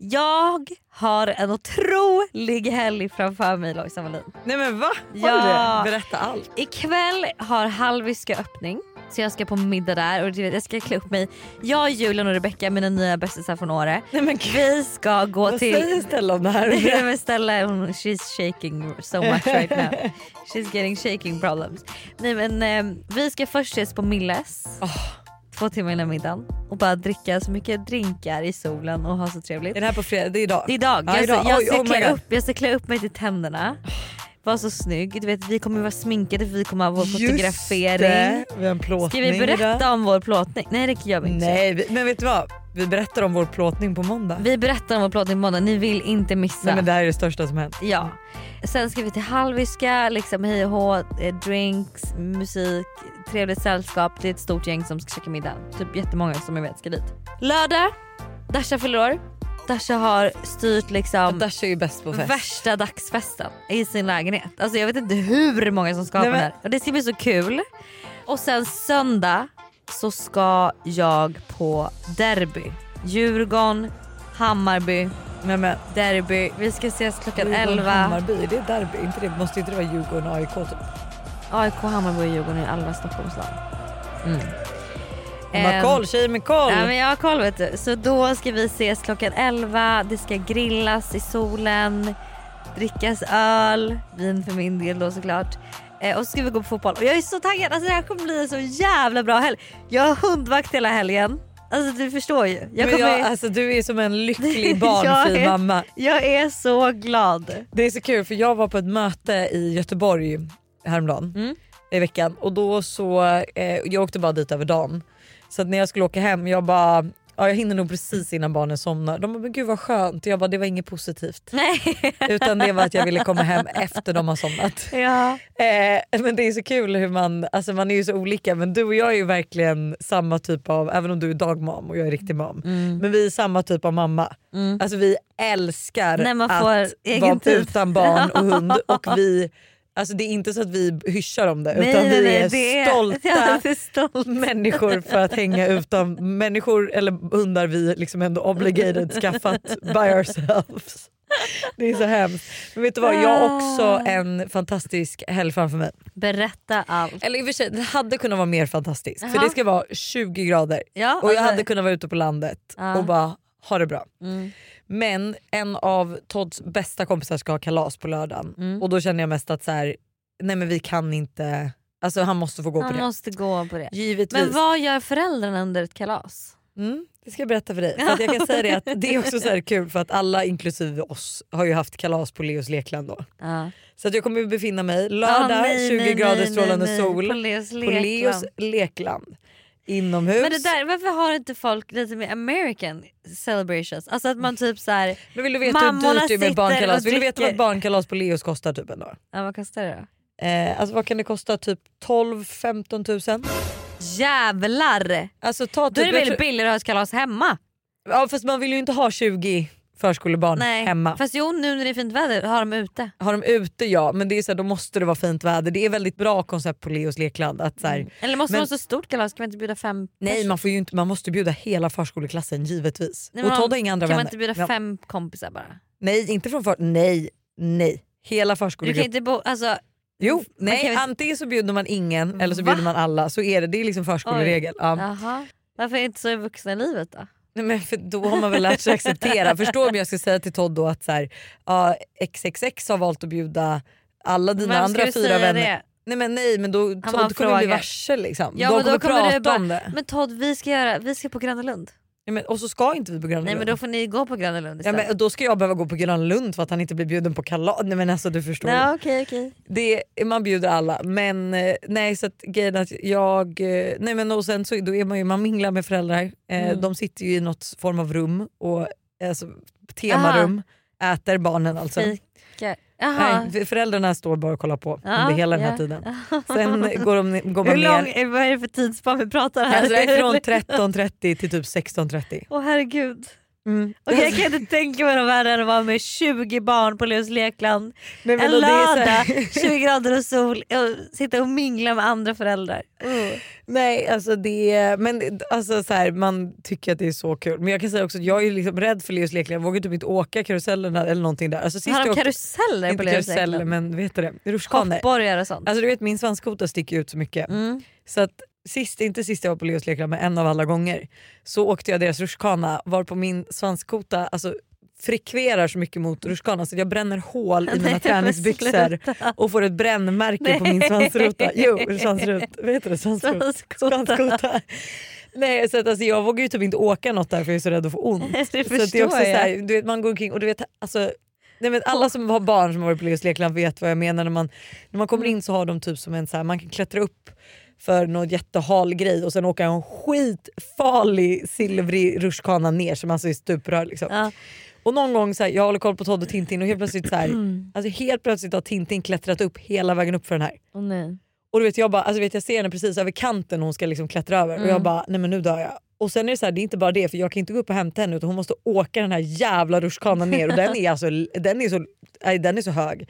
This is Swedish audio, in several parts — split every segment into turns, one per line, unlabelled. Jag har en otrolig helg framför mig Lojsan Wallin.
Nej men va?
Ja.
Har du det? Berätta allt.
Ikväll har Hallwyska öppning så jag ska på middag där och du vet, jag ska klä upp mig. Jag, Julian och Rebecca, mina nya bästisar från Åre.
Nej men gud.
Vi ska gå
Vad
till...
säger Stella om det här?
Nej, men Stella hon, she's shaking so much right now. She's getting shaking problems. Nej men eh, vi ska först ses på Milles.
Åh.
Två timmar innan middagen och bara dricka så mycket drinkar i solen och ha så trevligt.
Är det här på fredag? Det är idag?
Idag.
Ja,
jag,
idag.
Ska, jag,
Oj,
ska
oh my
klä
God.
upp, jag ska klä upp mig till tänderna. Vara så snygg. Du vet, vi kommer vara sminkade för vi kommer ha vår
Just
fotografering.
det, vi har en plåtning
Ska vi
idag.
berätta om vår plåtning? Nej det gör vi inte.
Nej vi, men vet du vad? Vi berättar om vår plåtning på måndag.
Vi berättar om vår plåtning på måndag. Ni vill inte missa.
Nej men det här är det största som hänt.
Ja. Sen ska vi till Hallwyska, liksom hej och hå, eh, drinks, musik, trevligt sällskap. Det är ett stort gäng som ska käka middag. Typ jättemånga som jag vet ska dit. Lördag, Dasha fyller år. Dasha har styrt liksom
Dasha är ju bäst på fest.
värsta dagsfesten i sin lägenhet. Alltså jag vet inte hur många som ska ha
Nej,
på den
men-
här. Och det ska bli så kul. Och sen söndag så ska jag på derby. Djurgården, Hammarby,
Nej men
derby. Vi ska ses klockan
Djurgården,
11.
Hammarby, det är derby. Inte det, måste inte det vara Djurgården och AIK typ?
AIK, Hammarby och Djurgården är alla Stockholmslag.
Mm. Hon har
Ehm,
koll, tjejer med koll.
Ja, men jag har koll vet du. Så då ska vi ses klockan 11. Det ska grillas i solen, drickas öl, vin för min del då såklart. Eh, och så ska vi gå på fotboll. Och jag är så taggad. Alltså, det här kommer bli en så jävla bra helg. Jag har hundvakt hela helgen. Alltså du förstår ju. Jag,
Men
kommer...
jag,
jag,
alltså, du är som en lycklig
Jag
barnfri
är-
mamma.
är så glad.
Det är så kul för jag var på ett möte i Göteborg häromdagen
Mm.
i veckan och då så, eh, jag åkte bara dit över dagen. Så att när jag skulle åka hem jag bara, ja, jag hinner nog precis innan barnen somnar. De bara, men gud vad skönt. Jag bara, det var inget positivt.
Nej.
Utan det var att jag ville komma hem efter de har somnat.
Ja.
Eh, men det är så kul hur man, alltså man är ju så olika men du och jag är ju verkligen samma typ av, även om du är dagmam och jag är riktig mam. Men vi är samma typ av mamma.
Mm.
Alltså vi älskar
När man
att
får egen
vara
tid.
utan barn och hund. Och vi, alltså det är inte så att vi hyschar om det
Nej,
utan
nej,
vi
nej,
är
det
stolta
Ja, det är stolt.
människor för att hänga utan människor eller hundar vi liksom ändå obligated skaffat by ourselves. Det är så hemskt. Men vet du vad, jag har
Ah.
också en fantastisk helg framför mig.
Berätta allt.
Eller i och för sig, det hade kunnat vara mer fantastiskt. För
Jaha.
det ska vara 20 grader
Ja, Ah.
och jag
alltså-
hade kunnat vara ute på landet
Ja.
och bara ha det bra.
Mm.
Men en av Todds bästa kompisar ska ha kalas på lördagen
Mm.
och då känner jag mest att så här, nej men vi kan inte, alltså han måste få gå på
Han
det.
måste gå på det.
Givetvis.
Men vad gör föräldrarna under ett kalas?
Mm, det ska jag berätta för dig. För att jag kan säga det, att det är också så här kul för att alla inklusive oss har ju haft kalas på Leos lekland då.
Ja.
Så att jag kommer befinna mig lördag
Ah, nej,
20
nej,
grader
nej,
strålande
nej, nej.
sol
På Leos
på Leos
lekland.
lekland. Inomhus.
Men det där, varför har inte folk lite mer American celebrations? Alltså att
Mm.
man typ så här,
Men vill du veta hur
Mammorna
dyrt det
sitter
är med
och
barnkalas? Vill du veta vad
dricker.
ett barnkalas på Leos kostar typ en dag?
ja, vad kostar det då?
Eh, alltså vad kan det kosta? Typ 12-15 000?
Jävlar!
Alltså ta typ,
Då är det
jag
väl
tror-
billigare att ha ett kalas hemma?
ja, fast man vill ju inte ha 20 förskolebarn
Nej.
hemma.
Fast jo nu när det är fint väder har de ute.
Har de ute ja, men det är så här, då måste det vara fint väder. Det är väldigt bra koncept på Leos lekland. Att, så här,
Eller måste
Men-
man ha så stort kalas? Kan man inte bjuda fem
Nej
pers-
man, får ju inte, man måste bjuda hela förskoleklassen givetvis.
Nej, men
och Todd har inga andra
Kan
vänner.
man inte bjuda
Ja.
fem kompisar bara?
Nej inte från för... Nej, nej. Hela
Du kan
förskolegruppen.
inte bo, alltså,
Jo,
man
nej
kan väl-
antingen så bjuder man ingen eller så
Va?
bjuder man alla. Så är det, det är liksom förskoleregel. Ja.
jaha. Varför inte så i vuxna livet då?
Nej, men för då har man väl lärt sig acceptera. Förstå om jag ska säga till Todd då att så här, ja, XXX har valt att bjuda alla dina
Vem
andra
skulle
fyra
säga
vänner.
det?
Nej men nej men då,
bara
Todd kommer bli
frågar.
varse liksom.
Ja,
De
men då
kommer,
kommer du
prata
bara-
om det.
Men Todd vi ska, göra, vi ska på Gröna Lund.
Nej, men, och så ska inte vi på Gröna
Nej men
Lund.
då får ni gå på Gröna Lund
Ja,
istället.
men då ska jag behöva gå på Gröna Lund för att han inte blir bjuden på kalas. Nej men alltså du förstår. ju.
Ja, okej, okej.
Det, man bjuder alla men eh, nej så att grejen är att jag, eh, nej men och sen så då är man ju, man minglar med föräldrar. Eh,
Mm.
De sitter ju i något form av rum och alltså, temarum. Äter barnen alltså.
Fika. Jaha.
Nej, för- föräldrarna står bara och kollar på
Ja,
under hela den här
ja.
tiden. Sen eh, går, de, går man
Hur lång,
ner.
vad är det för tidsspann vi pratar här?
Alltså, det är från 13.30 till typ 16.30.
Åh herregud.
Mm.
Och jag kan inte tänka mig något värre än att vara med 20 barn på Leos lekland
Nej, men
en
då det är så här-
lördag, 20 grader och sol och sitta och mingla med andra föräldrar.
Mm.
Uh.
Nej, alltså det, men det- alltså så här, man tycker att det är så kul. Men jag kan säga också att jag är liksom rädd för Leos lekland. Jag vågar typ inte åka karusellerna eller någonting där. Alltså, sist
Har
jag
de
åkte,
karuseller på
inte
Leos
karuseller
lekland?
men vet du det? Rutschkanor.
Hoppborgar och sånt?
Alltså du vet min svanskota sticker ut så mycket.
Mm.
Så att sist, inte sist jag var på Leos lekland men en av alla gånger så åkte jag deras rutschkana varpå min svanskota alltså, frikverar så mycket mot rutschkanan så att jag bränner hål i
Nej,
mina
men
träningsbyxor och får ett brännmärke på min
Nej.
svansruta. Jo, svansrut, vad heter det? Svansrut.
Svanskota.
Svanskota. Nej så att alltså, jag vågar ju typ inte åka något där för jag är så rädd att få ont.
Det
Så att det är
förstår
också så här,
jag.
du vet, man går omkring och du vet, alltså, nej, men alla som har barn som har varit på Leos lekland vet vad jag menar. När man, när man kommer in så har de typ som en så här, man kan klättra upp för någon jättehal grej och sen åka en skitfarlig silvrig rutschkana ner som alltså är stuprör. Liksom.
Ja.
Och någon gång så här, jag håller koll på Todd och Tintin och helt plötsligt så här,
Mm.
alltså helt plötsligt har Tintin klättrat upp hela vägen upp för den här.
Åh, nej.
Och du vet, jag, bara, alltså vet, jag ser henne precis över kanten hon ska liksom klättra över
Mm.
och jag bara nej men nu dör jag. Och sen är det så här, det är inte bara det för jag kan inte gå upp och hämta henne utan hon måste åka den här jävla rutschkanan ner och den är, alltså, den är, så, nej, den är så hög.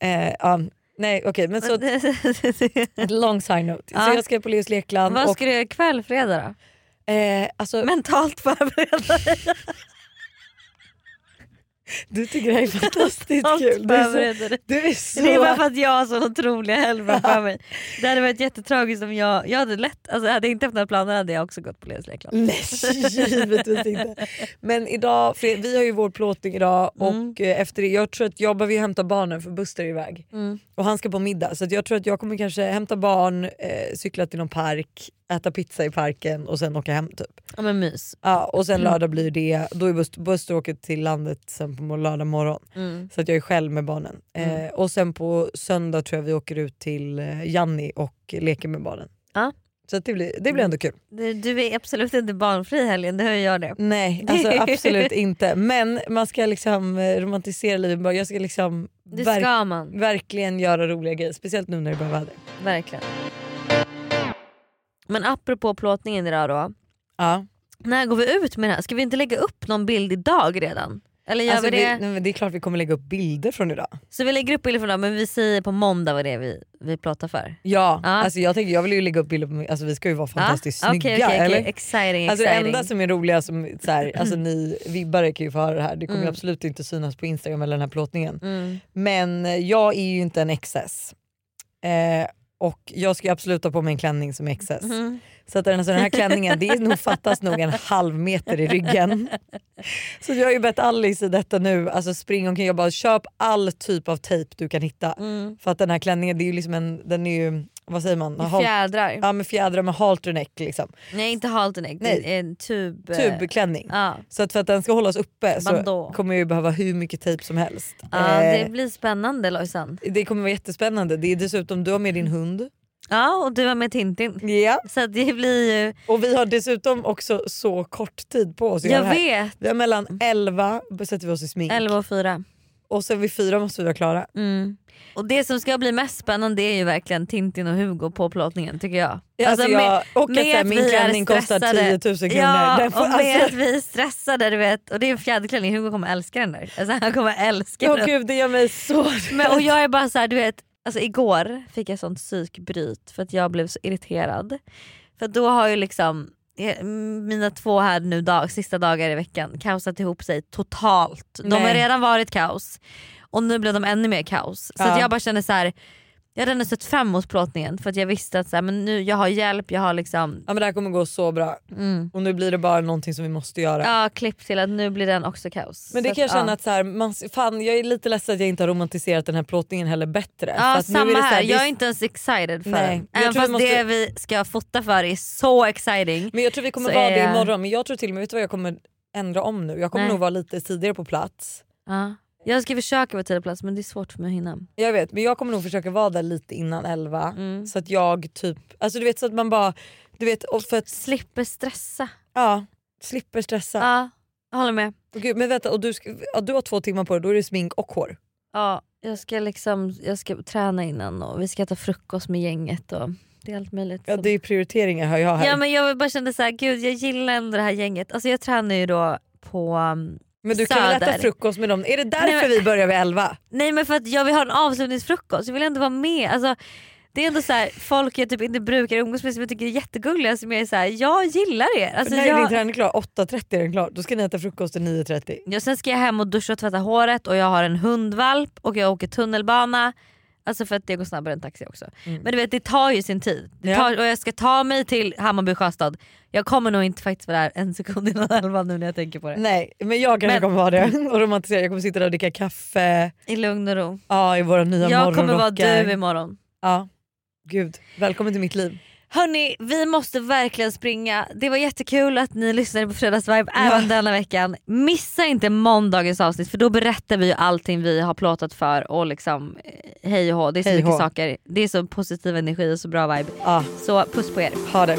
Eh, ja, nej okej men så ett long side note.
Ja.
Så jag ska på Leos Lekland
Vad
och
ska du göra ikväll fredag då?
eh, alltså,
Mentalt förbereda dig.
du tycker det här är fantastiskt
Mentalt
kul. Du är så,
förbereda dig.
du är så
Det är bara för att jag har sån otroliga helgdag för mig. Det hade varit jättetragiskt om jag, jag hade lätt, alltså hade jag inte haft några planer hade jag också gått på Leos lekland.
Nej givetvis inte. Men idag, för vi har ju vår plåtning idag och eh, efter det, jag tror att jag behöver ju hämta barnen för Buster är iväg och han ska på middag så att jag tror att jag kommer kanske hämta barn, eh, cykla till någon park, äta pizza i parken och sen åka hem typ.
Ja men mys.
Ja, och sen lördag blir det, då är Buster, Buster åker till landet sen på må- lördag morgon
Mm.
så att jag är själv med barnen. Eh, och sen på söndag tror jag vi åker ut till eh, Janni och leker med barnen.
Ja.
Så att det blir, det blir ändå kul.
Du, du är absolut inte barnfri i helgen, det hör jag det.
Nej, alltså absolut inte. Men man ska liksom eh, romantisera livet. bara. Jag ska liksom
Det
verk-
ska man,
verkligen göra roliga grejer. Speciellt nu när det börjar väder.
verkligen. Men apropå plåtningen idag då.
Ja.
När går vi ut med det här? Ska vi inte lägga upp någon bild idag redan? Eller gör
Alltså,
vi
vi,
det?
nej, men det är klart vi kommer lägga upp bilder från idag.
Så vi lägger upp bilder från idag men vi säger på måndag vad det är vi, vi plåtar för.
Ja,
Ja.
Alltså, jag, tänker, jag vill ju lägga upp bilder på mig. Alltså, vi ska ju vara fantastiskt
ja?
snygga.
Okej, okej, okej.
eller?
Exciting,
Alltså, det
exciting. Mm.
enda som är roliga, som, så här, alltså, ni vibbare kan ju få höra det här. Det kommer ju absolut inte synas på Instagram eller den här plåtningen.
Mm.
Men eh, jag är ju inte en XS. Eh, och jag ska ju absolut ha på mig en klänning som är XS.
Mm.
Så att den, alltså den här klänningen, det är nog fattas nog en halv meter i ryggen. Så jag har ju bett Alice i detta nu, alltså spring omkring jag bara köp all typ av tejp du kan hitta.
Mm.
För att den här klänningen, det är ju liksom en, den är ju, vad säger man?
I
Hal-
Fjädrar.
ja med fjädrar med halter neck liksom.
Nej inte halterneck,
Nej.
en tub. eh,
Tubklänning.
Ja.
Så att för att den ska hållas uppe så
Bandeau.
kommer jag ju behöva hur mycket tejp som helst.
Ja,
Eh,
det blir spännande Lojsan.
det kommer vara jättespännande. Det är dessutom, du har med din hund.
Ja och du var med Tintin.
Ja.
Så att det blir ju,
Och vi har dessutom också så kort tid på oss att göra
jag
det här.
vet,
Vi har
Mm.
mellan 11, sätter vi oss i smink.
11 och 4.
Och sen vid fyra måste vi vara klara.
Mm. Och det som ska bli mest spännande är ju verkligen Tintin och Hugo på plåtningen tycker jag.
Alltså,
med-
jag, och att,
med
så här,
att
min
vi är
klänning kostar
stressade.
10 000 kronor.
Ja,
Den får,
och med
alltså,
att vi är stressade du vet. Och det är en fjäderklänning, Hugo kommer älska den där. Alltså, han kommer älska
åh
den.
gud, det gör mig så...
Men, och jag är bara så här, du vet, alltså igår fick jag sånt psykbryt för att jag blev så irriterad. För då har ju liksom eh, mina två här nu dag, sista dagar i veckan kaosat ihop sig totalt. De har
Nej.
redan varit kaos och nu blev de ännu mer kaos. Så att
Ja.
jag bara känner så här. Jag hade ändå sett fram emot plåtningen för att jag visste att så här, men nu, jag har hjälp, jag har liksom...
Ja, men det här kommer gå så bra.
Mm.
Och nu blir det bara någonting som vi måste göra.
Ja, klipp till att nu blir den också kaos.
Men det
Så
kan jag
ja.
känna att så här, man, fan, jag är lite ledsen att jag inte har romantiserat den här plåtningen heller bättre.
Ja
för att
samma
nu är det så
här,
det är-
jag är inte ens excited för
Nej,
den.
jag
Även
tror vi
fast
måste-
det vi ska fota för är så exciting.
Men jag tror vi kommer
så
vara
är
det
jag-
imorgon. Men jag tror till och med, vet du vad jag kommer ändra om nu? Jag kommer
Nej.
nog vara lite tidigare på plats.
Ja. Jag ska försöka vara tidig på plats men det är svårt för mig att hinna.
Jag vet men jag kommer nog försöka vara där lite innan 11.
Mm.
Så att jag typ, alltså du vet så att man bara, du vet och för att,
Slipper stressa.
ja, slipper stressa.
Ja, jag håller med.
Och Gud, men vänta, och du, ska, ja, du har två timmar på dig, då är det smink och hår.
Ja, jag ska liksom jag ska träna innan och vi ska äta frukost med gänget och det är allt möjligt.
Ja
som-
det är prioriteringar hör jag här.
ja men jag bara kände så här, gud jag gillar ändå det här gänget. Alltså jag tränar ju då på um,
Men du kan väl
Söder.
äta frukost med dem? Är det därför
Nej, men-
vi börjar vid 11?
Nej men för att jag vill ha en avslutningsfrukost, jag vill ändå vara med. Alltså, det är ändå så här, folk jag typ inte brukar umgås med som jag tycker är jättegulliga som jag är så här, jag gillar er. Alltså,
när är din
jag...
träning klar? 8.30 är den klar. Då ska ni äta frukost till 9.30.
Ja, sen ska jag hem och duscha och tvätta håret och jag har en hundvalp och jag åker tunnelbana. Alltså för att det går snabbare än taxi också.
Mm.
Men du vet det tar ju sin tid. Det
Ja.
tar, och jag ska ta mig till Hammarby sjöstad. Jag kommer nog inte faktiskt vara där en sekund innan elva nu när jag tänker på det.
Nej men jag kanske
Men-
kommer vara det och romantisera. Jag kommer sitta där och dricka kaffe
I lugn och ro.
ja, i våra nya
Jag kommer vara
morgonrockar.
du imorgon.
Ja. Gud, välkommen till mitt liv.
Hörni, vi måste verkligen springa. Det var jättekul att ni lyssnade på Fredagsvibe även
Ja.
denna veckan. Missa inte måndagens avsnitt för då berättar vi ju allting vi har plåtat för och liksom eh, hej och hå. Det är så
Hej och
mycket
hå.
saker. Det är så positiv energi och så bra vibe.
Ja,
Så puss på er.
ha det.